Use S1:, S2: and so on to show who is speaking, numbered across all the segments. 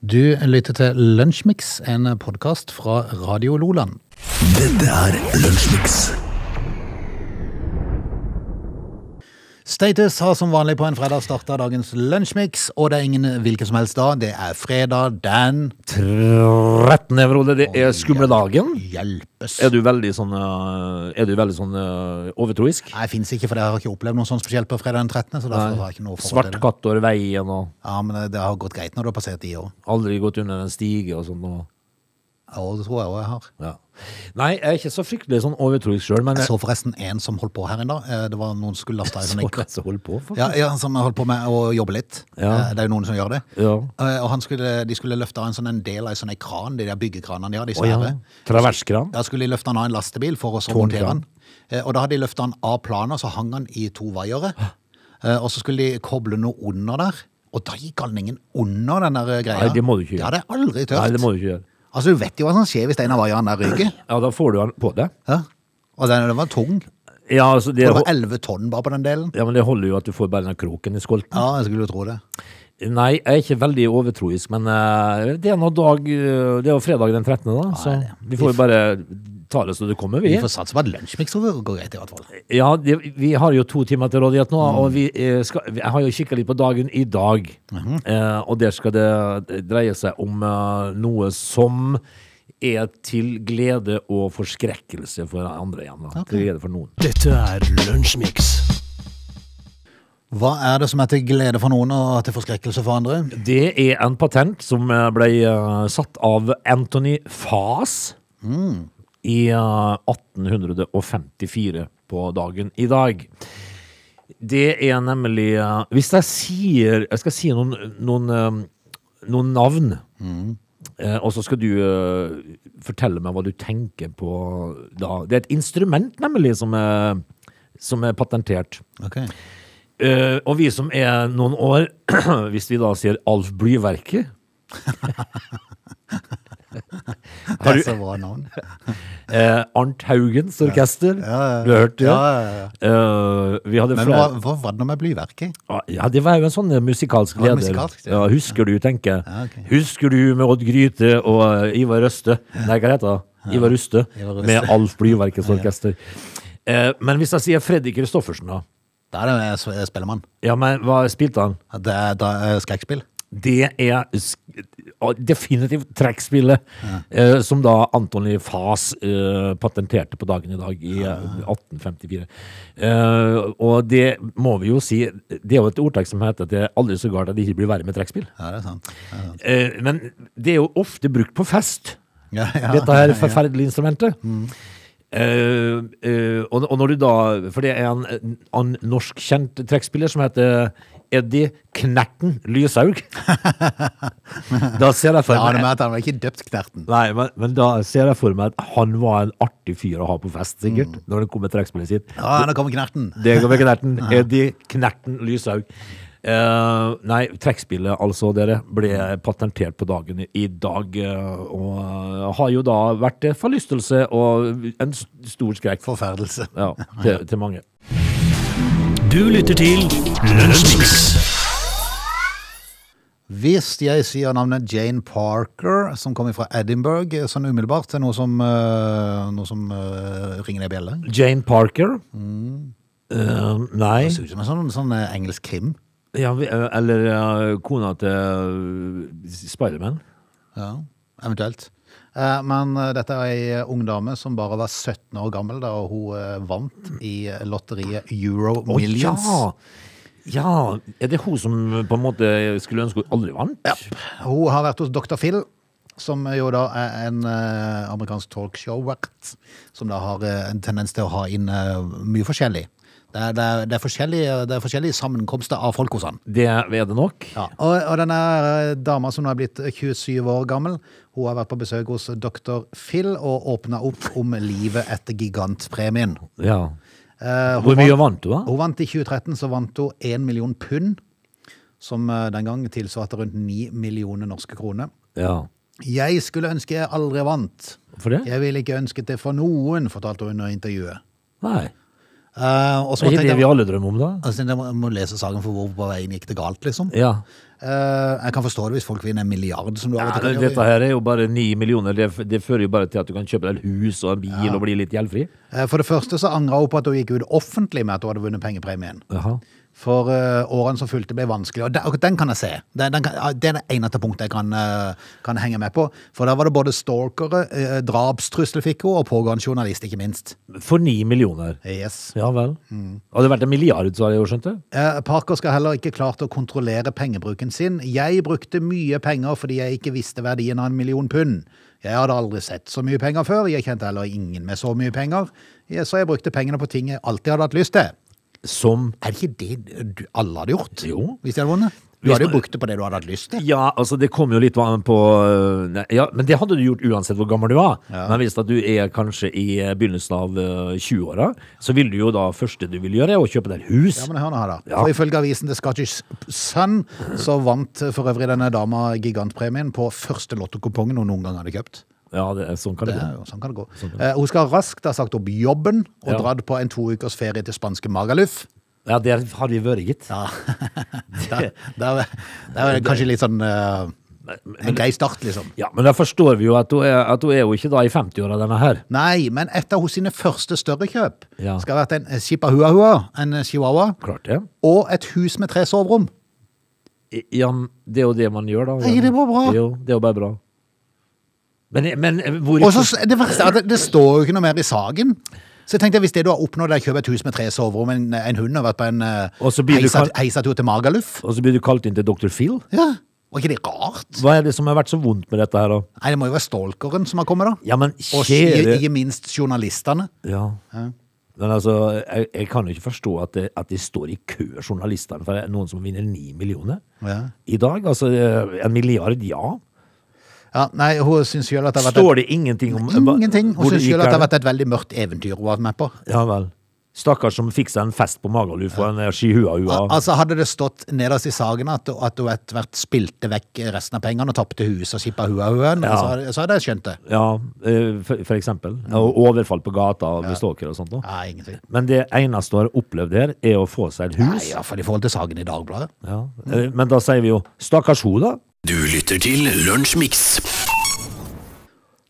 S1: Du lytter til Lunsjmix, en podkast fra Radio Loland.
S2: Dette er Lunsjmix.
S1: Status har som vanlig på en fredag starta dagens Lunsjmix, og det er ingen hvilken som helst dag. Det er fredag den
S3: 13. Frode, det er skumle dagen.
S1: hjelpes.
S3: Er du veldig sånn, øh, er du veldig sånn øh, overtroisk?
S1: Nei, fins ikke, for jeg har ikke opplevd noe sånt spesielt på fredag den 13., så derfor har jeg ikke noe forhold
S3: Svart
S1: til det.
S3: katt over veien og
S1: Ja, men det- det har gått greit når du har passert de år.
S3: aldri gått under en stige og sånn. Og,
S1: Ja, det tror jeg også jeg har.
S3: ja. Nei, jeg er ikke så fryktelig sånn overtroisk sjøl, men
S1: Jeg
S3: jeg
S1: så forresten en som holdt på her en dag. Eh, Det var noen som skulle laste i
S3: så
S1: sånn en-
S3: hva som holder på, faktisk.
S1: ja, ja, som holdt på med å jobbe litt.
S3: Ja.
S1: Eh, Det er jo noen som gjør det.
S3: Ja.
S1: Eh, Og han skulle, de skulle løfte av en sånn en del av en sånn en kran, de der byggekranene de har, de
S3: Å, ja.
S1: svære.
S3: Traverskran.
S1: Da skulle de løfte han av en lastebil for å så
S3: Tom
S1: montere han. Eh, Og da hadde de løftet han av planen, så hang han i to vaiere. Eh, Og så skulle de koble noe under der. Og da gikk galningen under den der eh, greia.
S3: Nei, det må du ikke gjøre.
S1: Det hadde jeg aldri tørt.
S3: Nei, det må du ikke gjøre.
S1: Altså, du vet jo hva som skjer hvis en av vaierne der ryker.
S3: Ja, da får du han på deg.
S1: Ja. Og den, den var tung.
S3: Ja, altså, det,
S1: Det var 11 tonn bare på den delen.
S3: ja, men det holder jo at du får bare den kroken i skolten.
S1: Ja, jeg skulle jo tro det.
S3: Nei, jeg er ikke veldig overtroisk, men eh, det er nå dag eh, Det er jo fredag den 13., da, så
S1: det er det.
S3: vi får jo bare ta det så det kommer, vi.
S1: Vi får satse på at lunsjmix går greit, i hvert fall.
S3: Ja, det, vi har jo to timer til rådighet
S1: Mm.
S3: nå, og vi eh, skal, jeg har jo kikka litt på dagen i dag.
S1: Mhm.
S3: eh, og der skal det dreie seg om eh, noe som er til glede og forskrekkelse for andre igjen. Da. Til glede for noen.
S2: Dette er Lunsjmix.
S1: Hva er det som er til glede for noen og til forskrekkelse for andre?
S3: Det er en patent som eh, ble eh, satt av Anthony Faas i eh, 1854 på dagen i dag. Det er nemlig eh, Hvis jeg sier Jeg skal si noen, noen, eh, noen navn. eh, Og så skal du eh, fortelle meg hva du tenker på da. Det er et instrument, nemlig, som er, som er patentert.
S1: Ok.
S3: Eh, og vi som er noen år, hvis vi da sier Alf Blyverket
S1: Det
S3: Har
S1: er
S3: du-
S1: så bra navn.
S3: eh, Arnt Haugens orkester,
S1: Ja, ja, ja.
S3: du har hørt det?
S1: Ja, ja, ja.
S3: Eh, vi hadde
S1: Men hva,
S3: flere Ah,
S1: hva var det nå med blyverket?
S3: Ja, det var jo en sånn eh, musikalsk
S1: Var det
S3: leder.
S1: musikalsk, det?
S3: ja. husker du, tenker jeg.
S1: Ja, ok.
S3: Husker du med Odd Gryte og eh, Ivar Røste Nei, hva heter det? Ivar Ruste.
S1: Ivar Ruste.
S3: Med Alf Blyverkets orkester. Eh, men hvis jeg sier Freddy Kristoffersen, da?
S1: Da er det med Sve- Spellemann.
S3: Ja, men hva spilte han?
S1: Det er da, eh, skrekkspill.
S3: Det er sk- å, definitivt trekkspillet eh, som da Antony Faas eh, patenterte på dagen i dag i eh, 1854. Eh, og det må vi jo si, det er jo et ordtak som heter at det er aldri så galt at det ikke blir verre med trekkspill.
S1: Ja, det er sant. Det er sant.
S3: Eh, men det er jo ofte brukt på fest,
S1: Ja, ja,
S3: dette her
S1: ja, ja.
S3: forferdelige instrumentet. Eh, eh, og, og når du da For det er en, en norskkjent trekkspiller som heter Eddie Knerten Lyshaug. da ser jeg for
S1: Ja, det
S3: meg
S1: med at han var ikke døpt Knerten.
S3: Nei, men, men da ser jeg for meg at han var en artig fyr å ha på fest, sikkert. Når det kom med trekkspillet sitt.
S1: Ja, nå kommer Knerten.
S3: Det går med Knerten. Eddie Knerten Lyshaug. Eh, nei, trekkspillet altså, dere, ble patentert på dagen i dag. eh, og eh, har jo da vært til forlystelse og en s- stor skrekk for,
S1: Forferdelse.
S3: ja, til, til mange.
S2: Du lytter til Lunsjmix.
S1: Hvis jeg sier navnet Jane Parker, som kommer fra Edinburgh, sånn umiddelbart, til noe som, eh, noe som eh, ringer ned bjelle.
S3: Jane Parker. Mm. Eh, nei
S1: Det ser ut som en sånn, sånn eh, engelsk krim.
S3: ja, vi- eh, Eller eh, kona til eh, Spiderman.
S1: Ja, eventuelt. Eh, Men eh, dette er ei eh, ung dame som bare var 17 år gammel da hun eh, vant i eh, lotteriet Euro
S3: Å,
S1: Millions.
S3: ja! ja! Er det hun som eh, på en måte skulle ønske hun aldri vant? Ja.
S1: Hun har vært hos Dr. Phil, som jo da er en eh, amerikansk talkshow-vert, som da har eh, en tendens til å ha inn eh, mye forskjellig. Det er, det, er, det, er forskjellige, det er forskjellige sammenkomster av folk hos han.
S3: Det er det nok.
S1: Ja. Og, og denne eh, dama som nå er blitt 27 år gammel, hun har vært på besøk hos Dr. Phil og åpna opp om livet etter gigantpremien.
S3: Ja.
S1: Eh,
S3: Hvor mye vant du, da?
S1: Hun vant i 2013, så vant hun 1 million pund, som eh, den gang tilsvarte rundt 9 millioner norske kroner.
S3: Ja.
S1: Jeg skulle ønske jeg aldri vant.
S3: For det?
S1: Jeg ville ikke ønsket det for noen, fortalte hun under intervjuet.
S3: Nei.
S1: Eh, og så må
S3: Det er ikke
S1: jeg
S3: det vi
S1: tenke
S3: alle drømmer om, da?
S1: altså, jeg må, jeg må lese saken for hvor på veien gikk det galt, liksom.
S3: Ja.
S1: Eh, jeg kan forstå det hvis folk vinner en milliard, som du av
S3: ja
S1: og til
S3: men
S1: kan
S3: dette
S1: gjøre.
S3: her er jo bare ni millioner. Det, det fører jo bare til at du kan kjøpe deg et hus og en bil og bli litt gjeldfri.
S1: Eh, For det første så angra hun på at hun gikk ut offentlig med at hun hadde vunnet pengepremien.
S3: Jaha.
S1: For eh, årene som fulgte, ble vanskelig. Og den, og den kan jeg se. Den, den kan, ja, det er det eneste punktet jeg kan, eh, kan henge med på. For der var det både stalkere, uh, drapstrusler fikk hun, og pågående journalist, ikke minst.
S3: For ni millioner.
S1: Yes.
S3: Ja vel.
S1: Mm.
S3: Hadde det vært en milliard, så hadde jeg jo skjønt det.
S1: Eh, Parker skal heller ikke klart å kontrollere pengebruken sin. Jeg brukte mye penger fordi jeg ikke visste verdien av en million pund. Jeg hadde aldri sett så mye penger før, jeg kjente heller ingen med så mye penger, Ja, så jeg brukte pengene på ting jeg alltid hadde hatt lyst til.
S3: Som
S1: Er det ikke det du, alle hadde gjort?
S3: Jo.
S1: Hvis de hadde vunnet? Du
S3: Hvis
S1: hadde jo
S3: man-
S1: brukt det på det du hadde hatt lyst til.
S3: Ja, altså det kommer jo litt an på øh, nei, Ja, men det hadde du gjort uansett hvor gammel du var. Men hvis at du er kanskje i eh, begynnelsen av øh, 20-åra, så vil du jo da første du vil gjøre, er å kjøpe deg et hus.
S1: Ja, men hør nå her, da.
S3: Ja.
S1: For ifølge avisen The Scottish Sun så vant for øvrig denne dama gigantpremien på første lottokupongen hun noen gang hadde kjøpt.
S3: Ja, det er sånn kan
S1: Det
S3: det
S1: er
S3: gå.
S1: jo, sånn kan det gå. Eh, hun skal raskt ha sagt opp jobben og
S3: Ja.
S1: dratt på en to ukers ferie til spanske Magaluf.
S3: Ja, der har vi vært, gitt.
S1: Ja. det, det, er, det er kanskje litt sånn eh, en grei start, liksom.
S3: Ja, men da forstår vi jo at hun er, at hun er jo ikke da i 50-åra, denne her.
S1: Nei, men et av hos sine første større kjøp
S3: Ja.
S1: skal ha vært en chihuahua, en eh, chihuahua,
S3: Klart det.
S1: og et hus med tre soverom.
S3: I- Ja, men det er jo det man gjør, da.
S1: Nei, det er bare bra.
S3: Det er jo, det er jo bare bra. Men, men hvor
S1: Og så s- det verste er at det, det står jo ikke noe mer i saken. Så jeg tenkte, hvis det du har oppnådd er å kjøpe et hus med tre soverom, en, en hund og vært på en eh,
S3: Og så blir du
S1: heisa-
S3: kalt-
S1: heisatur til Magaluf
S3: Og så blir du kalt inn til Dr. Phil.
S1: Ja, var ikke det rart?
S3: Hva er det som har vært så vondt med dette her, da?
S1: Nei, det må jo være stalkeren som har kommet da.
S3: Ja, men
S1: Og ikke
S3: kjære
S1: ikke minst journalisterne.
S3: Ja. Men altså, jeg, jeg kan jo ikke forstå at, det, at de står i kø, journalistene, for det er noen som vinner ni millioner
S1: Ja.
S3: i dag. Altså, eh, en milliard, ja.
S1: Ja, nei, hun synes selv at det har vært et,
S3: Står det ingenting om
S1: ingenting. Hun
S3: hvor det
S1: synes
S3: gikk
S1: selv at det har
S3: her?
S1: vært et veldig mørkt eventyr hun har vært med på.
S3: Ja vel. Stakkars som fikk seg en fest på Magaluf og en eh, chihuahua.
S1: Al- Altså, hadde det stått nederst i saken at, at hun etter hvert spilte vekk resten av pengene og tappte huset og skippa huahuen,
S3: Ja.
S1: så, hadde- så hadde jeg skjønt det.
S3: Ja, eh, for, for eksempel. Og overfall på gata med stalker og sånt noe.
S1: Nei, ingenting.
S3: Men det eneste hun har opplevd her, er å få seg et
S1: Nei,
S3: hus.
S1: i hvert fall i forhold til saken i Dagbladet.
S3: Ja. Eh, Men da sier vi jo stakkars hun, da.
S2: Du lytter til Lunsjmix.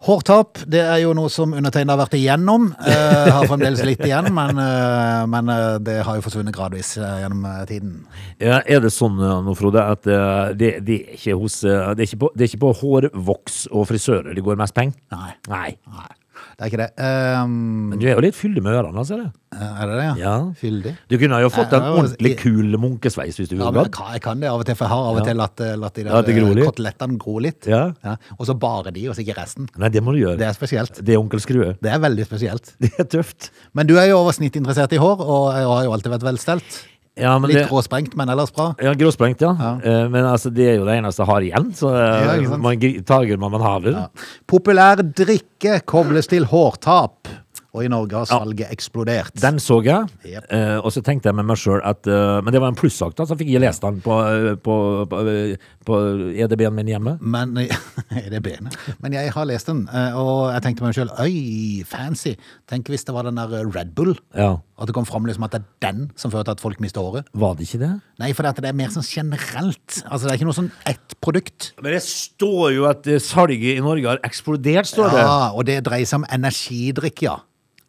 S1: Hårtap det er jo noe som undertegnede har vært igjennom. Eh, har fremdeles litt igjen, men, eh, men eh, det har jo forsvunnet gradvis eh, gjennom eh, tiden.
S3: Ja, er det sånn eh, nå, Frode, at eh, det, det, er ikke hos, eh, det, er ikke på, det er ikke på hårvoks og frisører det går mest penger?
S1: Nei.
S3: Nei.
S1: Nei, det er ikke det. Ehm,
S3: Men du er jo litt fyldig med ørene, ser du.
S1: er det det, ja?
S3: Ja.
S1: Fyldig.
S3: Du kunne jo fått en
S1: Ja, ja,
S3: ordentlig
S1: i-
S3: kul munkesveis hvis du
S1: Ja,
S3: ville
S1: men jeg
S3: gått.
S1: kan, jeg kan det av og til, for jeg har av og
S3: Ja.
S1: til latt, eh, latt de
S3: Ja, at
S1: der
S3: det gror
S1: eh,
S3: litt.
S1: kotelettene gro litt.
S3: Ja.
S1: Og så bare de, og så ikke resten.
S3: Nei, det må du gjøre.
S1: Det er spesielt.
S3: Det er onkel Skrue.
S1: Det er veldig spesielt.
S3: Det er tøft.
S1: Men du er jo over snitt interessert i hår, og jeg har jo alltid vært velstelt.
S3: Ja, men
S1: Litt
S3: det,
S1: gråsprengt, men ellers bra.
S3: ja, gråsprengt, ja. Eh, Men altså, det er jo det eneste jeg har igjen, så
S1: Ja,
S3: eh,
S1: ikke sant?
S3: man gri- tager man man haver.
S1: Ja. Populær drikke kobles til hårtap, og i Norge har salget eksplodert.
S3: Den så jeg,
S1: Jep.
S3: eh, og så tenkte jeg med meg sjøl at eh, Men det var en plussak, da, så fikk jeg lest den på, eh, på, på, på EDB-en min hjemme.
S1: Men er det benet? Men jeg har lest den, eh, og jeg tenkte meg sjøl Oi, fancy! Tenk hvis det var den der eh, Red Bull.
S3: Ja.
S1: At det kom fram liksom at det er den som fører til at folk mister håret.
S3: Var det ikke det?
S1: Nei, for det er mer sånn generelt. Altså, Det er ikke noe sånn ett produkt.
S3: Men det står jo at eh, salget i Norge har eksplodert, står det.
S1: Ja, Og det dreier seg om energidrikk, ja.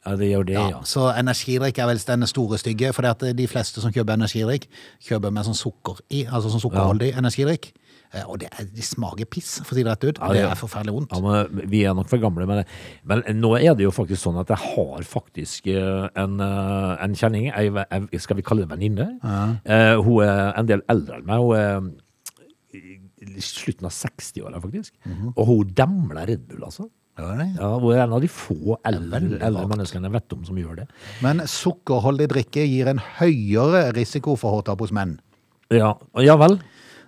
S3: Ja, det gjør det,
S1: ja.
S3: ja.
S1: Så energidrikk er vel den store stygge, for de fleste som kjøper energidrikk, kjøper med sånn sukker i, altså sånn sukkerholdig energidrikk. Eh, Og det er, de smaker piss, for å si det rett ut.
S3: Ja,
S1: det
S3: det-
S1: er forferdelig vondt.
S3: Ja, men vi er nok for gamle, men, men nå er det jo faktisk sånn at jeg har faktisk eh, en, eh, en kjenning, ei ve- ei- skal vi kalle det venninne? Eh, hun er en del eldre enn meg, hun er i slutten av 60-åra faktisk,
S1: Mhm.
S3: og hun demler Red Bull, altså.
S1: Ja, det er det.
S3: Ja, hun er en av de få eldre,
S1: veldig
S3: eldre
S1: rart.
S3: menneskene jeg vet om som gjør det.
S1: Men sukkerholdig drikke gir en høyere risiko for hårtap hos menn.
S3: Ja, og ja vel.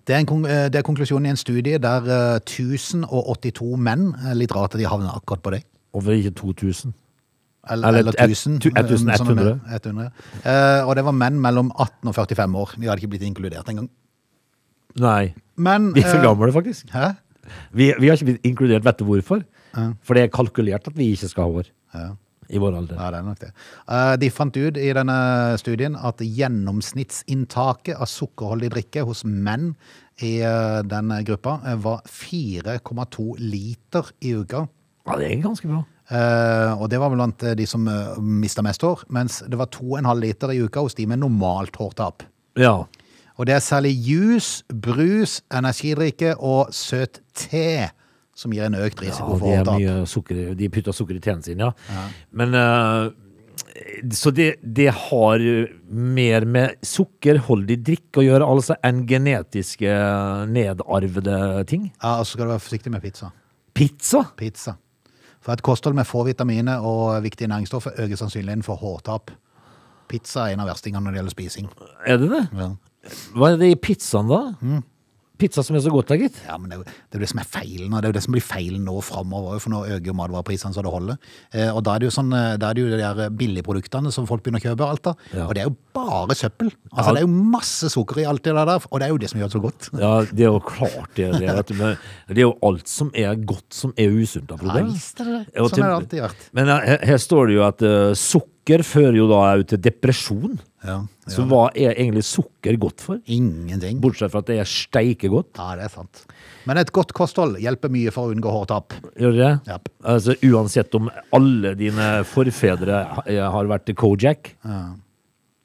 S1: Det er, en, kon- eh, det er konklusjonen i en studie der eh, 1082 menn eh, Litt rart at de havner akkurat på det.
S3: Over ikke 2000.
S1: Eller,
S3: Eller
S1: eller
S3: et-
S1: 1000.
S3: tu-
S1: eh,
S3: 1100.
S1: sånn med- 100. Eh, og det var menn mellom 18 og 45 år. De hadde ikke blitt inkludert engang.
S3: Nei,
S1: Men
S3: vi er for
S1: eh,
S3: gamle faktisk.
S1: Hæ?
S3: Vi, vi har ikke blitt inkludert, vet du hvorfor? For det er kalkulert at vi ikke skal ha hår.
S1: Ja.
S3: i vår alder.
S1: Ja, det er nok det. Eh, De fant ut i denne studien at gjennomsnittsinntaket av sukkerholdig drikke hos menn i eh, den gruppa eh, var 4,2 liter i uka.
S3: Ja, det er ganske bra.
S1: Eh, og det var blant eh, de som uh, mista mest hår, mens det var 2,5 liter i uka hos de med normalt hårtap.
S3: Ja.
S1: Og det er særlig juice, brus, energidrikke og søt te som gir en økt
S3: Ja,
S1: risiko for
S3: det er
S1: hårtap.
S3: mye sukker, i- de putter sukker i teen sin, ja. Men, eh, så det, det har mer med sukkerholdig drikk å gjøre, altså, enn genetiske nedarvede ting.
S1: Ja, og så skal du være forsiktig med pizza.
S3: Pizza?
S1: Pizza. For et kosthold med få vitaminer og viktige næringsstoffer øker sannsynligheten for hårtap. Pizza er en av verstingene når det gjelder spising.
S3: Er det det?
S1: Ja,
S3: Hva er det i pizzaen da? Pizza som er så godt da, gitt.
S1: ja men det er, jo, det er jo det som er feilen, og det er jo det som blir feilen nå framover, for nå øker jo matvareprisene så det holder. Eh, og da er det jo sånn, eh, da er det jo de der billigproduktene som folk begynner å kjøpe alt av,
S3: Ja.
S1: og det er jo bare søppel. Altså,
S3: Ja.
S1: det er jo masse sukker i alt det der, og det er jo det som gjør det så godt.
S3: Ja, det er jo klart det. er Det, vet du, men det er jo alt som er godt, som er usunt. da,
S1: Ja,
S3: Frode.
S1: visst er det det.
S3: Og
S1: Sånn
S3: til-
S1: har det alltid vært.
S3: Men her, her står det jo at eh, sukker fører jo da òg til depresjon.
S1: Ja, ja.
S3: Så hva er egentlig sukker godt for?
S1: Ingenting.
S3: Bortsett fra at det er steikegodt.
S1: Ja, det er sant. Men et godt kosthold hjelper mye for å unngå hårtap.
S3: Gjør det?
S1: Ja.
S3: Altså, uansett om alle dine forfedre ha- eh, har vært Kojak.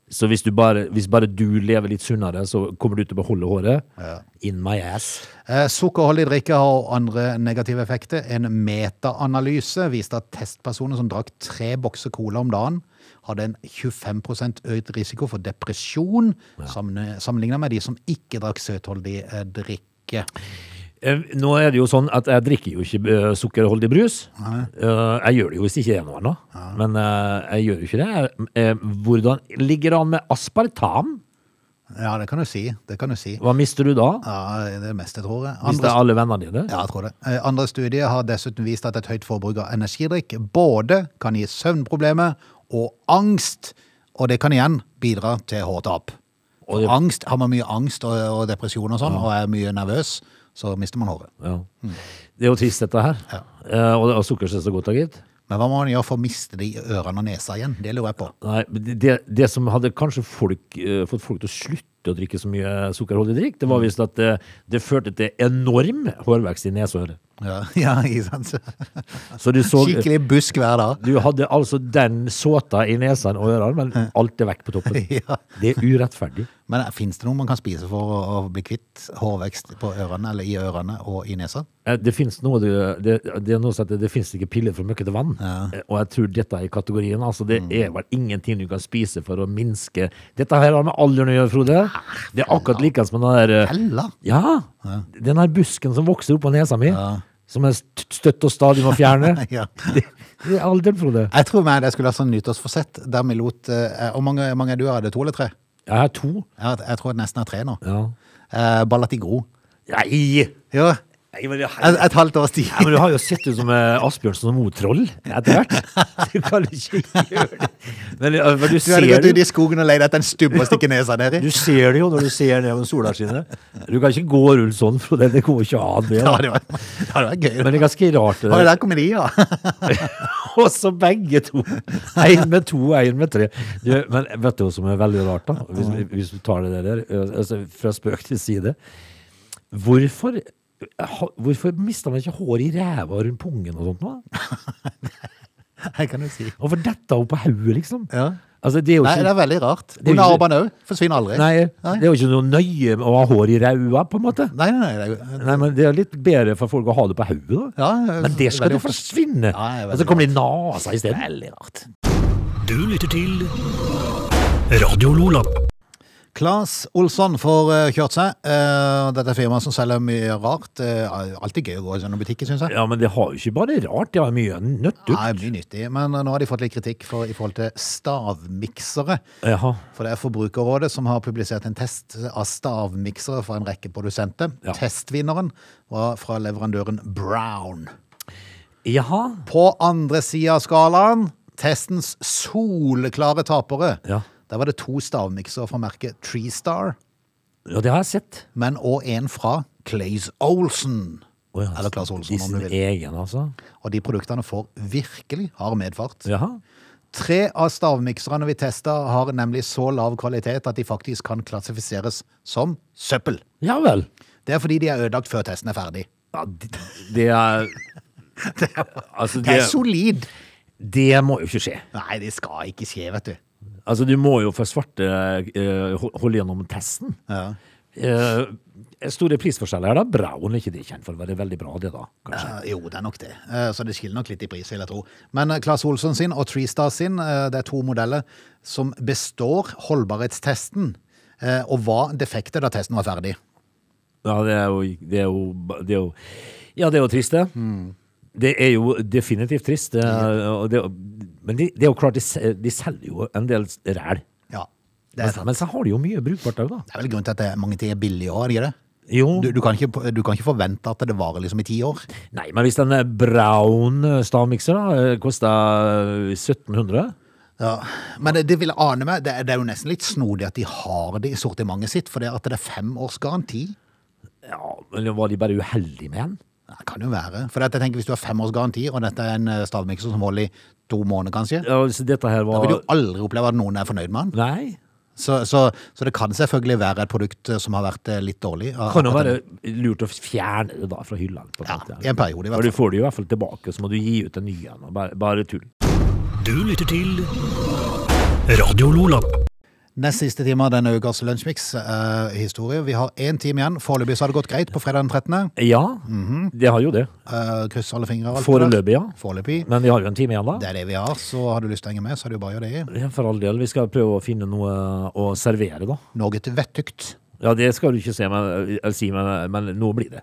S3: Så hvis, du bare, hvis bare du lever litt sunnere, så kommer du til å beholde håret. In my ass.
S1: Eh, Sukkerholdig drikke har andre negative effekter. En metaanalyse viste at testpersoner som drakk tre bokser cola om dagen, hadde en 25 økt risiko for depresjon sammenligna med de som ikke drakk søtholdig eh, drikke.
S3: Eh, Nå er det jo sånn at jeg drikker jo ikke eh, sukkerholdig brus. Eh, Jeg gjør det jo hvis ikke det er noe annet. Men eh, jeg gjør jo ikke det. Jeg- eh, Hvordan ligger det an med aspartam?
S1: Ja, det kan du si. Det kan du si.
S3: Hva mister du da?
S1: Ja, det er det meste, tror jeg.
S3: Hvis det
S1: Andre,
S3: er alle vennene dine?
S1: ja, jeg tror det. Eh, Andre studier har dessuten vist at et høyt forbruk av energidrikk både kan gi søvnproblemer og angst, og det kan igjen bidra til hårtap.
S3: Og det-
S1: Angst, Har man mye angst og, og depresjon og sånn, og er mye nervøs, så mister man håret.
S3: Ja. Det er jo trist, dette her. Eh, Og, og sukker er så godt, da, gitt.
S1: Men hva må man gjøre for å miste de ørene og nesa igjen? Det lurer jeg på.
S3: Nei, men det, det som hadde kanskje folk, eh, fått folk til å slutte å drikke så mye sukkerholdig drikk, det var
S1: Mm.
S3: visst at det, det førte til enorm hårvekst i nesehøret.
S1: Ja, ja ikke sant?
S3: Så du så
S1: Skikkelig busk hver dag.
S3: Du hadde altså den såta i nesen og ørene, men alt er vekk på toppen.
S1: Ja.
S3: Det er urettferdig.
S1: Men fins det noe man kan spise for å, å bli kvitt hårvekst på ørene, eller i ørene og i nesa?
S3: Eh, Det finnes noe det, det, det er noe som heter det finnes ikke piller for møkkete vann. Eh, Og jeg tror dette er i kategorien. Altså, det
S1: Mm.
S3: er vel ingenting du kan spise for å minske Dette her har med alderen å gjøre, Frode.
S1: Ah,
S3: Det er akkurat like som den der eh,
S1: Hella!
S3: Ja! Den her busken som vokser opp på nesa mi. Som jeg st- støtt og stadig må fjerne.
S1: Ja.
S3: Det, det er alderen, Frode.
S1: Jeg tror meg det skulle vært sånn nyttårsforsett, der vi lot eh, Hvor mange, mange er du hadde? To eller tre?
S3: Jeg har to.
S1: Jeg, jeg tror nesten jeg er tre nå.
S3: Ja.
S1: Eh, Ballat i gro.
S3: Nei!
S1: Ja,
S3: Nei, men det er
S1: et, et halvt års tid.
S3: Nei, men Du har jo sett ut som eh, Asbjørnsen og Moe Troll etter hvert. Du kan ikke gjøre det. Men, eh, men
S1: Du
S3: du,
S1: hadde
S3: ser
S1: gått ut
S3: det,
S1: i skogen og leid etter en stubb å stikke nesa ned i.
S3: du ser det jo når du ser ned med solskinnet. Du kan ikke gå rundt sånn, Frode. Det går ikke an. det
S1: Ja,
S3: da.
S1: det var, det var gøy.
S3: Men det er ganske rart.
S1: Var
S3: det
S1: det
S3: der.
S1: der komedier?
S3: Og så begge to. Én med to, én med tre. Du, men vet du hva som er veldig rart, da? Hvis, hvis du tar det der, eh, altså, fra spøk til side. Hvorfor, ha- hvorfor mista man ikke håret i ræva og rundt pungen og sånt? nå?
S1: Det kan du si.
S3: Hvorfor dette opp på hodet, liksom?
S1: Ja.
S3: Altså, det er jo
S1: Nei,
S3: ikke...
S1: det er veldig rart.
S3: er jo
S1: Under
S3: ikke-
S1: armene òg. Forsvinner aldri.
S3: Nei,
S1: Nei.
S3: det er jo ikke noe nøye med å ha hår i ræva, på en måte.
S1: Nei, nei, nei, det er jo-
S3: Nei, men Det er litt bedre for folk å ha det på hodet, da.
S1: Ja,
S3: men det skal
S1: veldig
S3: jo
S1: ofte. Ja, det
S3: forsvinne!
S1: er veldig
S3: og så kommer det i nesa isteden. Veldig rart.
S2: Du lytter til Radio Lola.
S1: Claes Olsson får eh, kjørt seg. Eh, dette er firmaet som selger mye rart. Uh, alltid gøy å gå i sånne butikker, syns jeg.
S3: Ja, men det har jo ikke bare rart, det har mye nøtter.
S1: Nei, mye nyttig. Men eh, nå har de fått litt kritikk for, i forhold til stavmiksere.
S3: Jaha.
S1: For det er Forbrukerrådet som har publisert en test av stavmiksere fra en rekke produsenter.
S3: Ja.
S1: Testvinneren var fra leverandøren Brown.
S3: Jaha.
S1: På andre sida av skalaen, testens soleklare tapere.
S3: Ja.
S1: Der var det to stavmiksere fra merket Treestar,
S3: ja, det har jeg sett.
S1: men òg en fra Clays Olsen.
S3: Å Å ja,
S1: Eller Claes Olsson,
S3: i
S1: om du
S3: sin
S1: vil.
S3: egen, altså.
S1: Og de produktene får virkelig hard medfart.
S3: Jaha.
S1: Tre av stavmikserne vi testa, har nemlig så lav kvalitet at de faktisk kan klassifiseres som søppel.
S3: Ja vel.
S1: Det er fordi de er ødelagt før testen er ferdig.
S3: Ja, det, det er Altså,
S1: Det
S3: det,
S1: er solid!
S3: det må jo ikke skje.
S1: Nei, det skal ikke skje, vet du.
S3: Altså, du må jo for svarte eh, hol- holde gjennom testen.
S1: Ja.
S3: Eh, store prisforskjeller her, da. Braun er ikke det kjent for å være veldig bra, det da, kanskje.
S1: Eh, jo, det er nok det. Eh, så det skiller nok litt i pris, vil jeg tro. Men eh, Claes Olsson sin og Treestar sin, eh, det er to modeller som består holdbarhetstesten. eh, og var defekte da testen var ferdig.
S3: Ja, det er jo, det er jo, det er jo Ja, det er jo trist, det. Mm. Det er jo definitivt trist. Det, er- og det, men det, det er jo klart, de, se- de selger jo en del ræl.
S1: Ja, det er,
S3: Men, men så har de jo mye brukbart òg, da.
S1: det er vel grunnen til at det er mange ting er billige òg, er det ikke det?
S3: Jo.
S1: Du, du, kan ikke, du kan ikke forvente at det varer liksom i ti år.
S3: Nei, men hvis den eh, Braun eh, stavmikser da, koster eh, 1700
S1: Ja. Men det, det vil jeg ane meg, det er, det er jo nesten litt snodig at de har det i sortimentet sitt, for det at det er fem års garanti.
S3: Ja, men var de bare uheldige med den?
S1: Det kan jo være. For at jeg tenker, hvis du har fem års garanti, og dette er en eh, stavmikser som holder i to måneder kanskje,
S3: Ja, så dette her
S1: da
S3: var
S1: vil du jo aldri oppleve at noen er fornøyd med den.
S3: Nei.
S1: Så, så, så det kan selvfølgelig være et produkt eh, som har vært eh, litt dårlig. av-
S3: Kan jo
S1: akkurat
S3: være
S1: den-
S3: lurt å fjerne det da fra hylla. på en
S1: Ja,
S3: måte.
S1: i en periode i hvert
S3: For
S1: fall.
S3: du får det jo i hvert fall tilbake, så må du gi ut en ny en. og Bare, bare tull.
S2: Du lytter til Radio Lola.
S1: Nest siste time av denne ukas lunsjmix-historie. Vi har én time igjen. Foreløpig så har det gått greit på fredag den 13.
S3: Ja,
S1: Mhm.
S3: det har jo det.
S1: Eh, kryss alle fingre. og alt det der.
S3: Foreløpig, ja.
S1: Foreløpig.
S3: Men vi har jo en time igjen, da.
S1: Det er det vi har, så har du lyst til å henge med, så er det jo bare å gjøre det.
S3: Ja, For all del. Vi skal prøve å finne noe å servere, da.
S1: Noe til vettugt.
S3: Ja, det skal du ikke se, men, eller si, men, men nå blir det.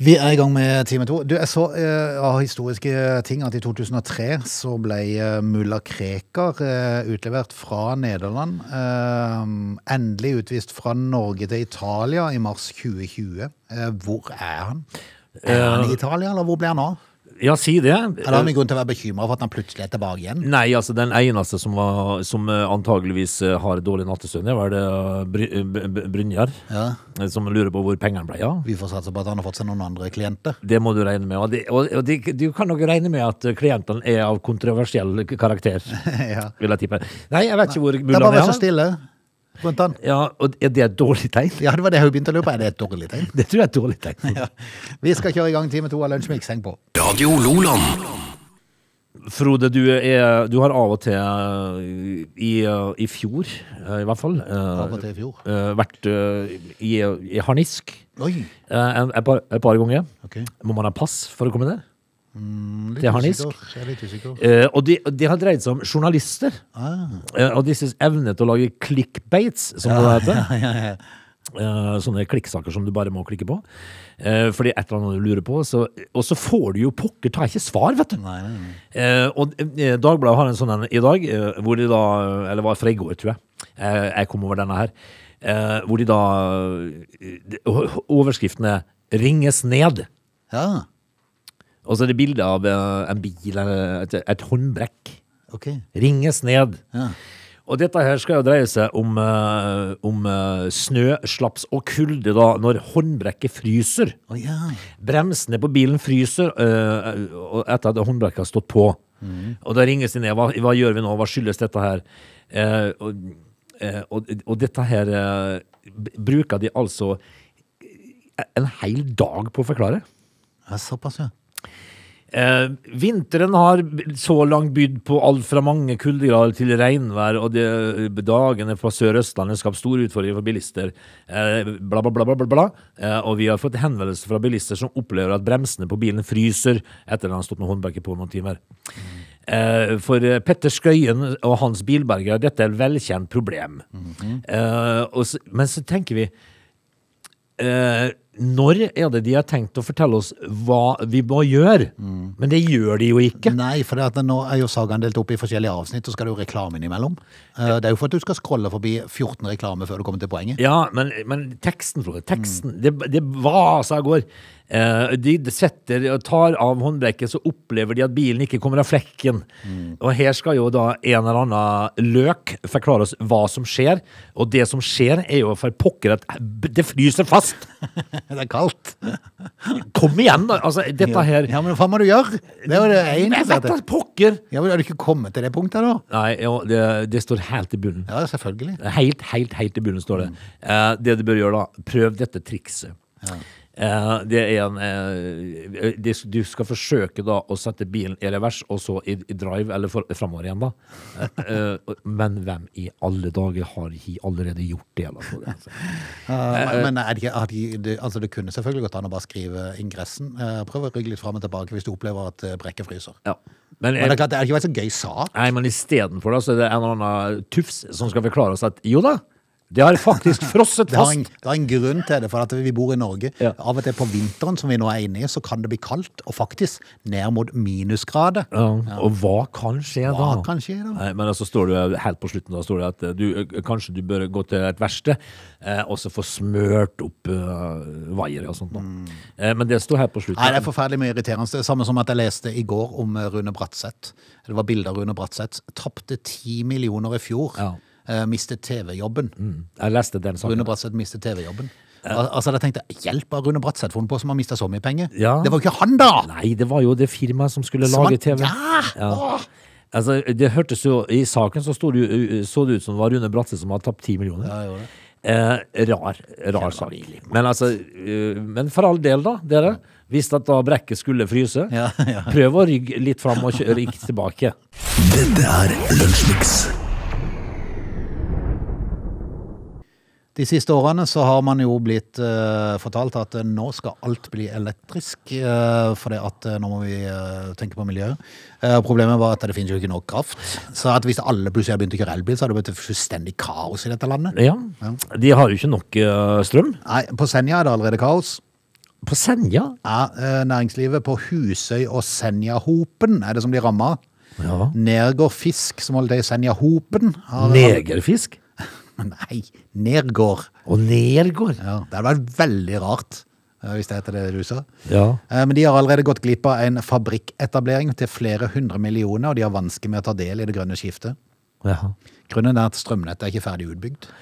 S1: Vi er i gang med time to. Du, jeg så eh, av historiske ting at i 2003 så ble eh, mulla Krekar eh, utlevert fra Nederland. eh, endelig utvist fra Norge til Italia i mars 2020. Eh, hvor er han? Er han i Italia, eller hvor ble han av?
S3: Ja, si det.
S1: Eller har vi grunn til å være bekymra for at han plutselig er tilbake igjen?
S3: Nei, altså den eneste som, var, som eh, antageligvis eh, har dårlig nattesøvn, det var det eh, Bry- eh, B- B- Brynjar,
S1: Ja.
S3: eh, som lurer på hvor pengene ble av.
S1: Vi får satse på at han har fått seg noen andre klienter.
S3: Det må du regne med. Og, det- og, og det- du kan nok regne med at eh, klientene er av kontroversiell k- karakter,
S1: ja.
S3: vil jeg tippe. Nei, jeg vet ikke hvor
S1: Det er bare
S3: mullaen
S1: å være så
S3: er.
S1: stille rundt han.
S3: Ja, og er det et dårlig tegn?
S1: Ja, det var det jeg begynte å lure på. Er det et dårlig tegn?
S3: Det tror jeg er et dårlig tegn.
S1: Vi skal kjøre i gang time to av Lunsjmix. Heng på.
S2: Radio Loland.
S3: Frode, du, er, du har av og til eh, i, eh, i fjor, eh, i hvert fall eh,
S1: og til i fjor.
S3: eh, Vært eh, i, i harnisk
S1: Oi.
S3: eh, en- et par, et par ganger.
S1: Ok.
S3: Må man ha pass for å komme ned?
S1: Litt
S3: Det er harnisk.
S1: usikker. Jeg er litt usikker.
S3: Eh, og det de har dreid seg om journalister.
S1: Ah.
S3: Eh, og disses evne til å lage clickbaits, som det heter. Eh, sånne klikksaker som du bare må klikke på. Eh, fordi et eller annet du lurer på. Så, og så får du jo pokker ta ikke svar, vet du.
S1: Nei, nei, nei.
S3: Eh, og eh, Dagbladet har en sånn en i dag, eh, hvor de da Eller var fra i går, tror jeg. Eh, jeg kom over denne her. Eh, hvor de da eh, de- Overskriften er 'Ringes ned'.
S1: Ja,
S3: Og så er det bilde av eh, en bil eller et, et håndbrekk.
S1: ok.
S3: Ringes ned.
S1: Ja.
S3: Og dette her skal jo dreie seg om, eh, om eh, snø, slaps og kulde da, når håndbrekket fryser.
S1: Å ja.
S3: Bremsene på bilen fryser eh, og etter at håndbrekket har stått på. Og da ringes de ned. Hva, hva gjør vi nå? Hva skyldes dette her? Eh, og, eh, og, og dette her eh, b- bruker de altså en hel dag på å forklare.
S1: ja såpass, ja.
S3: Eh, vinteren har b- så langt bydd på alt fra mange kuldegrader til regnvær, og det, dagene på Sør-Østlandet skapt store utfordringer for bilister. Eh, bla, bla, bla, bla, bla, bla. Eh, og vi har fått henvendelser fra bilister som opplever at bremsene på bilen fryser etter at han har stått med håndbrekket på noen timer. Eh, for eh, Petter Skøyen og hans bilberger, dette er et velkjent problem. eh, og, så- men så tenker vi eh, når er det de har tenkt å fortelle oss hva vi må gjøre? Men det gjør de jo ikke.
S1: Nei, for det at nå er jo sagaen delt opp i forskjellige avsnitt, og skal det jo reklame innimellom. Eh, Det er jo for at du skal scrolle forbi 14 reklame før du kommer til poenget.
S3: Ja, men, men teksten, Frode, teksten, det, det vaser av gård. Eh, De setter, tar av håndbrekket, så opplever de at bilen ikke kommer av flekken.
S1: Mm.
S3: Og her skal jo da en eller annen løk forklare oss hva som skjer. Og det som skjer, er jo for pokker at det fryser fast!
S1: Det er kaldt.
S3: Kom igjen, da! Altså, dette her
S1: Ja, men hva må du gjøre? Det er jo det
S3: Jeg
S1: eneste.
S3: vet
S1: at
S3: da
S1: det-
S3: pokker!
S1: Ja, men Har du ikke kommet til det punktet, da?
S3: Nei, jo, det, det står helt i bunnen.
S1: Ja, selvfølgelig.
S3: Helt, helt, helt i bunnen står det. Eh, det du bør gjøre da, prøv dette trikset. Eh, det er en eh, det, Du skal forsøke da å sette bilen i revers, og så i, i drive, eller for, framover igjen, da. Eh, eh, men hvem i alle dager har ikke allerede gjort det? Da, for det, altså?
S1: Men- Men er det, ikke- har de, det, altså det kunne selvfølgelig gått an å bare skrive ingressen. Eh, Prøv å rygge litt fram og tilbake hvis du opplever at eh, brekket fryser.
S3: ja. Men,
S1: Men
S3: eh,
S1: det er klart, det er ikke vært så gøy sak.
S3: Nei, men istedenfor det, så er det en eller annen eh, tufs som skal forklare oss at jo da, det har faktisk frosset
S1: Det har, en,
S3: fast.
S1: det har en grunn til det, for at vi bor i Norge.
S3: Ja.
S1: Av og til på vinteren, som vi nå er inne i, så kan det bli kaldt, og faktisk ned mot minusgrader.
S3: Ja, Eh, og hva kan skje da?
S1: Hva kan skje da?
S3: Nei, men altså står det jo helt på slutten da står det at eh, du, eh, kanskje du bør gå til et verste eh, og så få smørt opp eh, vaier og sånt. Da. Eh, men det står her på slutten.
S1: Mm. Nei, det er forferdelig mye irriterende. Det er samme som at jeg leste i går om eh, Rune Bratseth. Det var bilder av Rune Bratseth. Tapte ti millioner i fjor.
S3: Ja.
S1: Eh, mistet TV-jobben.
S3: Jeg leste den
S1: Rune
S3: saken.
S1: Bratseth mistet TV-jobben. Al- Altså, da tenkte jeg, hjelp av Rune Bratseth, for hun på som har mistet så mye penger.
S3: Ja.
S1: Det var jo ikke han da!
S3: Nei, det var jo det firmaet som skulle
S1: Som
S3: lage
S1: han-
S3: TV.
S1: Ja! Åh!
S3: Altså, det hørtes jo, I saken så, sto det, jo- så det ut som det var Rune Bratseth som hadde tapt 10 millioner.
S1: Ja, jeg gjorde det.
S3: Eh, rar rar sak. Men, altså, eh, men for all del, da, dere. Visste at da brekket skulle fryse.
S1: Ja, ja.
S3: Prøv å rygge litt fram og kjøre ikke tilbake.
S2: Dette er Lunsjmix.
S1: De siste årene så har man jo blitt eh, fortalt at eh, nå skal alt bli elektrisk, uh, for at eh, nå må vi eh, tenke på miljøet. Eh, problemet var at det finnes jo ikke nok kraft. Så at hvis alle plutselig hadde begynt å kjøre elbil, så hadde det blitt fullstendig kaos i dette landet.
S3: Ja. De har jo ikke nok eh, strøm.
S1: Nei, på Senja er det allerede kaos.
S3: På Senja?
S1: Ja, eh, næringslivet på Husøy og Senjahopen er det som blir ramma.
S3: Ja.
S1: Nergård Fisk, som holder til i Senjahopen har-
S3: Negerfisk?
S1: Nei, Nergård.
S3: Og Nergård?
S1: Ja, det hadde vært veldig rart eh, hvis det heter det du sa.
S3: Ja.
S1: Eh, Men de har allerede gått glipp av en fabrikketablering til flere hundre millioner, og de har vansker med å ta del i det grønne skiftet.
S3: Jaha.
S1: Grunnen er at strømnettet er ikke ferdig utbygd.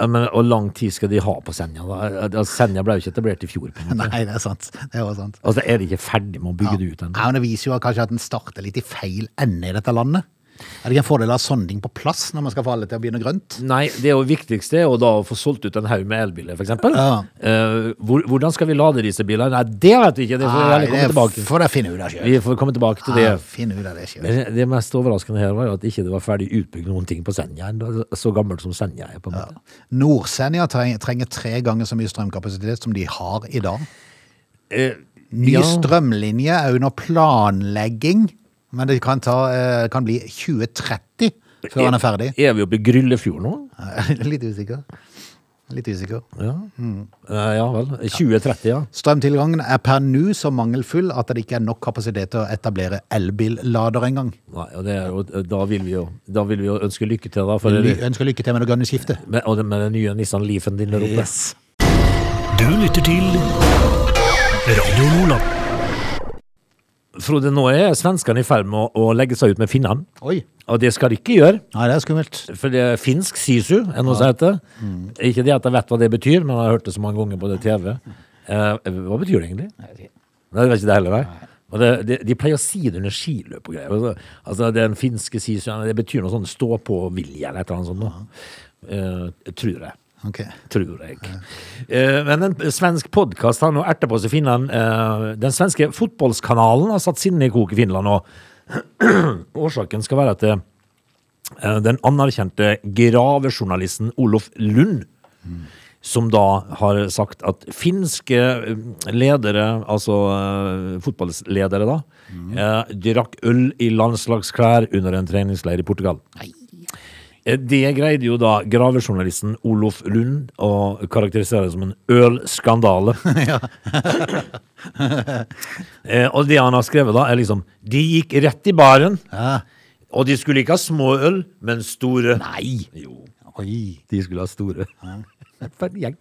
S3: Ja, Men, og lang tid skal de ha på Senja? da? Altså, Senja ble jo ikke etablert i fjor. på en måte.
S1: Nei, det er sant. Det er også sant.
S3: Altså, Er de ikke ferdig med å bygge det ut ennå?
S1: Ja, men det viser jo kanskje at den starter litt i feil ende i dette landet. Er det ikke en fordel å ha sånne ting på plass når man skal få alle til å begynne grønt?
S3: Nei, det er jo viktigste er jo da å få solgt ut en haug med elbiler, f.eks.
S1: Ja.
S3: Eh, hvor, hvordan skal vi lade disse bilene? Nei, det vet vi ikke. Det får vi heller komme tilbake til.
S1: får dere finne ut av sjøl.
S3: Vi får komme tilbake til det.
S1: Finne ut av det sjøl.
S3: Men det mest overraskende her var jo at ikke det var ferdig utbygd noen ting på Senja. ennå. Så gammelt som Senja er, på en måte.
S1: Nordsenja treng- trenger tre ganger så mye strømkapasitet som de har i dag.
S3: Eh,
S1: Ny
S3: ja.
S1: strømlinje er under planlegging, men det kan, ta, eh, kan bli 2030 før den er ferdig.
S3: Er vi oppe i Gryllefjord nå?
S1: Litt usikker. Litt usikker.
S3: Ja, Eh, ja vel. 2030, ja.
S1: Strømtilgangen er per nå så mangelfull at det ikke er nok kapasitet til å etablere elbillader engang.
S3: Nei, og det er jo, da, vil vi jo, da vil vi jo ønske lykke til, da. For
S1: Vi
S3: det,
S1: ønsker lykke til med det grønne skiftet.
S3: med, og det med den nye Nissan Leafen din der oppe.
S2: Du lytter til Radio Lola.
S3: Frode, nå er svenskene i ferd med å, å legge seg ut med finnene.
S1: Oi.
S3: Og det skal de ikke gjøre,
S1: Nei, det er skummelt.
S3: for det er finsk sisu, er noe som heter. Ikke det at jeg vet hva det betyr, men jeg har hørt det så mange ganger på det TV. Eh, hva betyr det egentlig? Nei, det vet ikke det heller, nei. Og det, det, de pleier å si det under skiløp og greier. Altså, altså den finske sisuen, det betyr noe sånn stå-på-vilje eller et eller annet sånt. nå. Eh, tror jeg.
S1: Ok.
S3: Tror jeg. Eh, men en svensk podkast har nå erta på seg Finland. Eh, den svenske fotballskanalen har satt sinnet i kok i Finland nå. Årsaken skal være at eh, den anerkjente gravejournalisten Olof Lund som da har sagt at finske eh, ledere, altså eh, fotballledere da, eh, drakk øl i landslagsklær under en treningsleir i Portugal. Eh, Det greide jo da gravejournalisten Olof Lund å karakterisere som en ølskandale. Eh, og det han har skrevet da, er liksom De gikk rett i baren,
S1: Ja.
S3: og de skulle ikke ha små øl, men store.
S1: Nei.
S3: Jo.
S1: Oi.
S3: De skulle ha store. For en gjeng.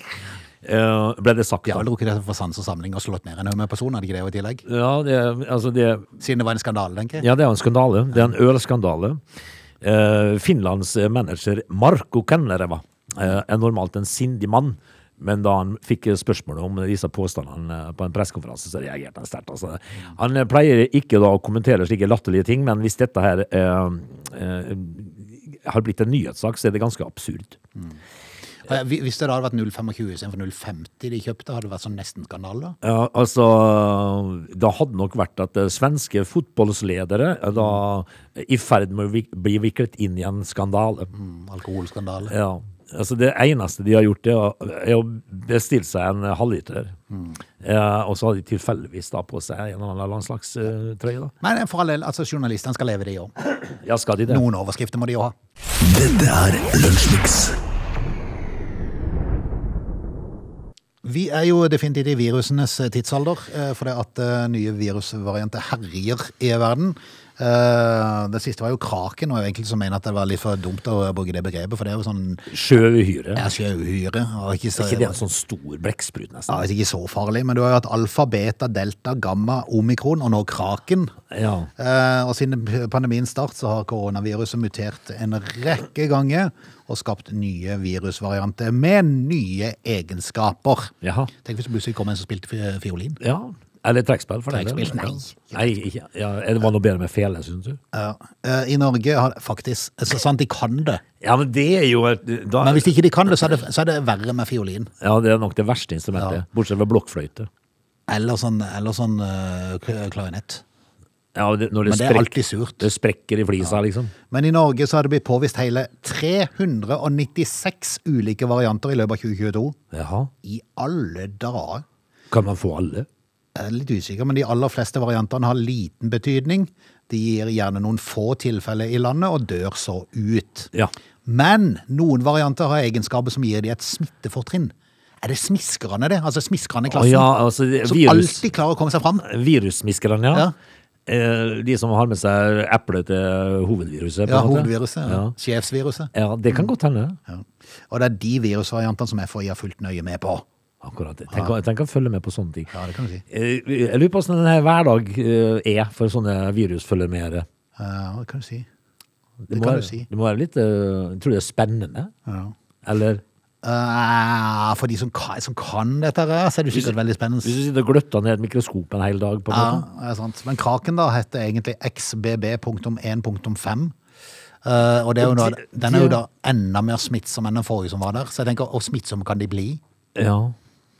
S3: eh, ble det sagt.
S1: De har
S3: Ja,
S1: vel drukket det for sans og samling og slått ned en haug med personer, hadde ikke det jo i tillegg?
S3: ja det, altså det
S1: Siden det var en skandale, tenker jeg.
S3: Ja, det er en skandale. Det er en ølskandale. Eh, Finlands eh, manager Marko Kennereva eh, er normalt en sindig mann. Men da han fikk eh, spørsmålet om disse påstandene eh, på en pressekonferanse, så reagerte han sterkt. Altså. Han eh, pleier ikke da å kommentere slike latterlige ting, men hvis dette her eh, eh, har blitt en nyhetssak, så er det ganske absurd.
S1: Og jeg- Eh, Hvis det da hadde vært 0,25 istedenfor 0,50 de kjøpte, hadde det vært sånn nesten-skandale.
S3: Ja, altså Det hadde nok vært at eh, svenske fotballsledere er da i ferd med å vik- bli viklet inn i en skandale.
S1: Mm, Alkoholskandale.
S3: Ja, altså Det eneste de har gjort, det er å- er å bestille seg en halvliter. Eh, og så har de tilfeldigvis da på seg en eller annen slags eh, trøye. da.
S1: Men for all del, altså, journalistene skal leve, de òg.
S3: Ja, skal de det?
S1: Noen overskrifter må de jo ha.
S2: Dette er Lunsjmix.
S1: Vi er jo definitivt i virusenes tidsalder, eh, fordi at eh, nye virusvarianter herjer i verden. Eh, Det siste var jo kraken, og jeg egentlig så mener at det var litt for dumt å bruke det begrepet, for det er jo sånn
S3: Sjøuhyre.
S1: er sjøuhyre. og Ikke altså. så,
S3: Er ikke det en sånn stor blekksprut,
S1: ja,
S3: nesten?
S1: det er ikke så farlig, men du har jo hatt alfa, beta, delta, gamma, omikron og nå kraken.
S3: Ja.
S1: Eh, Og siden pandemiens start så har koronaviruset mutert en rekke ganger og skapt nye virusvarianter med nye egenskaper.
S3: Jaha.
S1: Tenk hvis det plutselig kom en som spilte fi- fiolin.
S3: ja. Eller trekkspill, for den del.
S1: Trekkspill, nei.
S3: Ja. nei ikke. Ja, det var noe bedre med fele, syns du?
S1: Ja. Eh, I Norge har faktisk Så sant de kan det.
S3: Ja, men det er jo et, da,
S1: Men hvis ikke de kan det, så er det, så er det verre med fiolin.
S3: Ja, det er nok det verste instrumentet.
S1: Ja.
S3: Bortsett fra blokkfløyte.
S1: Eller sånn, eller sånn eh, kl- klarinett.
S3: Ja, det, når det
S1: Men det er
S3: sprekker-
S1: alltid surt.
S3: Det sprekker i flisa, liksom.
S1: Men i Norge så har det blitt påvist hele 396 ulike varianter i løpet av 2022.
S3: Jaha.
S1: I alle dager.
S3: Kan man få alle?
S1: Jeg er litt usikker, men de aller fleste variantene har liten betydning. De gir gjerne noen få tilfeller i landet, og dør så ut.
S3: Ja.
S1: Men noen varianter har egenskaper som gir de et smittefortrinn. Er det smiskerne, det? Altså smiskerne i
S3: Å
S1: klassen?
S3: ja, altså, det-
S1: som
S3: virus,
S1: alltid klarer å komme seg fram?
S3: virussmiskerne, ja.
S1: Ja.
S3: Eh, De som har med seg eplet til hovedviruset. på
S1: Ja,
S3: en måte.
S1: hovedviruset. Ja. Mm.
S3: Ja.
S1: Sjefsviruset.
S3: ja, det kan godt hende.
S1: Ja. Og det er de virusvariantene som FHI har fulgt nøye med på.
S3: Akkurat. Tenk, å- tenk å følge med på sånne ting.
S1: Ja, det kan du si.
S3: Eh, Jeg lurer på hvordan denne hverdag eh, er for sånne virusfølgermeere.
S1: Ja, det kan du si.
S3: Det,
S1: Det
S3: må
S1: kan du
S3: være-
S1: si.
S3: Det må være litt eh, Jeg tror det er spennende.
S1: Ja.
S3: Eller
S1: Eh, for de som kan, som kan dette, her, så er det sikkert veldig spennende.
S3: hvis du sitter og gløtter ned et mikroskop en hel dag. på en
S1: Ja,
S3: måte.
S1: det er sant. Men kraken da heter egentlig XBB.1.5. Eh, og det er jo da,
S3: Det-
S1: den er jo
S3: det-
S1: da enda mer smittsom enn den forrige som var der. Så jeg tenker, hvor smittsom kan de bli?
S3: Ja.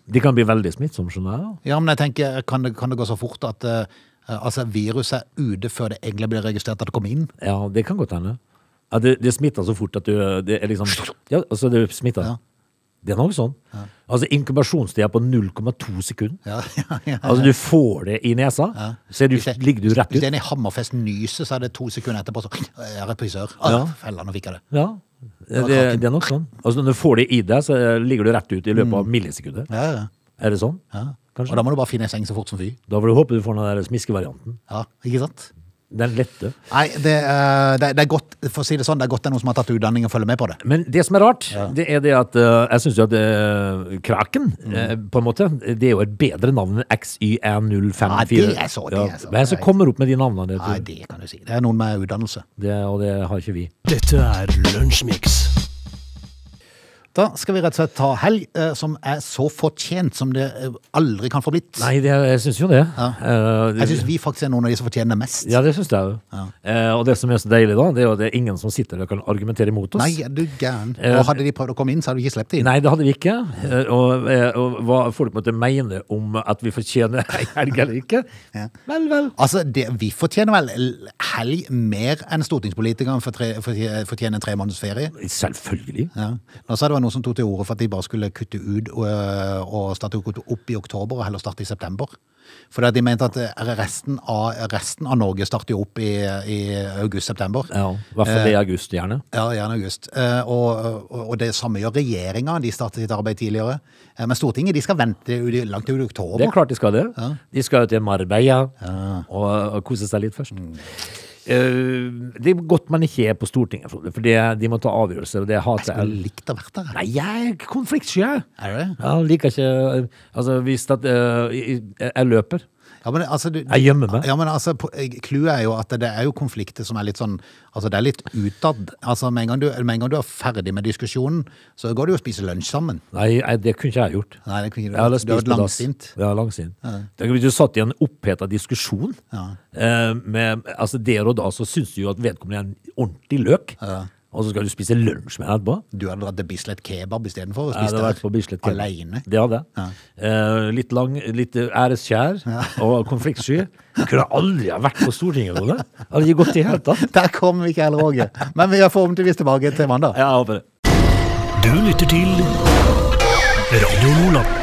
S3: De kan bli veldig smittsomme, skjønner jeg. da.
S1: Ja, men jeg tenker, kan det, kan det gå så fort at eh, altså, viruset er ute før det egentlig blir registrert at det kom inn?
S3: Ja, det kan godt hende. Ja, det, det smitter så fort at du Det er liksom Ja, altså, det smitter.
S1: Ja.
S3: Det er noe sånn. Altså, inkubasjonstida på 0,2 sekunder.
S1: Ja, ja, ja.
S3: Altså, du får det i nesa, så er du,
S1: Hvis jeg-
S3: ligger du rett
S1: Hvis
S3: ut.
S1: en i Hammerfest nyser, så er det to sekunder etterpå så Jeg er reprisør. Ah,
S3: Ja.
S1: Fella, nå fikk jeg det.
S3: Ja. Det,
S1: var
S3: det,
S1: kaken.
S3: er nok sånn. Altså, når du får det i deg, så eh, ligger du rett ut i løpet av millisekunder.
S1: Ja, ja,
S3: Er det sånn?
S1: Mm. ja. Og
S3: Kanskje.
S1: da må du bare finne en seng så fort som fy.
S3: Da får du håpe du får den der smiskevarianten.
S1: Ja, ikke sant?
S3: Den lette.
S1: Nei, det, eh, det, det er godt for å si det sånn, det er godt det er noen som har tatt utdanning og følger med på det.
S3: Men det som er rart, det er det at eh, jeg syns jo at eh, Kraken,
S1: Mm.
S3: eh, på en måte, det er jo et bedre navn enn XYN054.
S1: Nei, det er så, det er så.
S3: Hvem som kommer opp med de navnene?
S1: Nei,
S3: vet du.
S1: det kan du si. Det er noen med utdannelse.
S3: Det, og det har ikke vi.
S2: Dette er Lunsjmix.
S1: Da skal vi rett og slett ta helg, eh, som er så fortjent som det eh, aldri kan få blitt.
S3: Nei, det, jeg syns jo det. Eh,
S1: Jeg syns vi faktisk er noen av de som fortjener det mest.
S3: ja, det syns jeg òg. Eh, og det som er så deilig, da, det er jo at det er ingen som sitter og kan argumentere mot oss.
S1: Nei, er du gæren.
S3: Eh,
S1: Og hadde de prøvd å komme inn, så hadde du ikke sluppet inn.
S3: Nei, det hadde vi ikke. Eh, Og, eh, og hva folk måtte mene om at vi fortjener ei helg eller ikke. Vel, vel.
S1: Altså, det, Vi fortjener vel l- helg mer enn stortingspolitikerne for tre- for- fortjener tre måneders ferie.
S3: Selvfølgelig.
S1: Ja. Nå sa det var noen som tok til orde for at de bare skulle kutte ut og, øh, og starte opp i oktober og heller starte i september. For de mente at eh, resten av, resten av Norge starter jo opp i, i august-september.
S3: Ja, I hvert
S1: Eh.
S3: fall det i august, gjerne.
S1: Ja, gjerne august. Eh, Og, og, og det samme gjør regjeringa, de startet sitt arbeid tidligere. Eh, Men Stortinget de skal vente ut i- langt til oktober.
S3: Det er klart de skal det. De skal jo til Marbella og, og kose seg litt først. eh, det er godt man ikke er på Stortinget, Frode, for det, de må ta avgjørelser, og det hater
S1: Jeg
S3: jeg.
S1: ville likt å vært der. jeg.
S3: Nei, jeg er konfliktsky, jeg.
S1: Er du det?
S3: Jeg liker ikke Altså, hvis at eh, jeg, jeg løper.
S1: Ja, men, altså, du,
S3: Jeg gjemmer meg.
S1: Ja, men altså, po- eh, Clouet er jo at det er jo konflikter som er litt sånn Altså, det er litt utad. Altså, med en, gang du, med en gang du er ferdig med diskusjonen, så går du og spiser lunsj sammen.
S3: Nei, jeg, det kunne ikke jeg gjort.
S1: Nei, det kunne ikke du.
S3: Jeg hadde
S1: Du
S3: spist
S1: hadde vært
S3: på dass.
S1: langsint.
S3: Ja, langsint. Tenk hvis du satt i en oppheta diskusjon. eh, Med, altså Der og da så syns du jo at vedkommende er en ordentlig løk, og så skal du spise lunsj med henne etterpå.
S1: Du hadde dratt til Bislett kebab istedenfor og
S3: Jeg
S1: spist
S3: hadde vært på
S1: der
S3: Bislett Kebab.
S1: alene.
S3: Det hadde jeg. Eh, litt lang, litt æreskjær og konfliktsky. Jeg kunne aldri ha vært på Stortinget, Rune. Hadde ikke gått i det hele tatt.
S1: Der kom vi ikke heller, Åge. Men vi er forhåpentligvis tilbake til mandag.
S3: Jeg håper det.
S2: Du lytter til Radio Nordland.